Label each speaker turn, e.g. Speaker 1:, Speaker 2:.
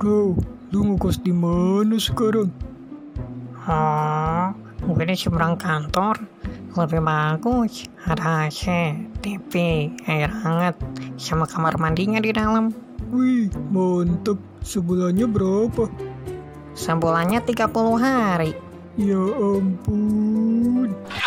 Speaker 1: Bro, lu mau kos di mana sekarang?
Speaker 2: Oh, gue di seberang kantor. Lebih bagus, ada AC, TV, air hangat, sama kamar mandinya di dalam.
Speaker 1: Wih, mantep. Sebulannya berapa?
Speaker 2: Sebulannya 30 hari.
Speaker 1: Ya ampun.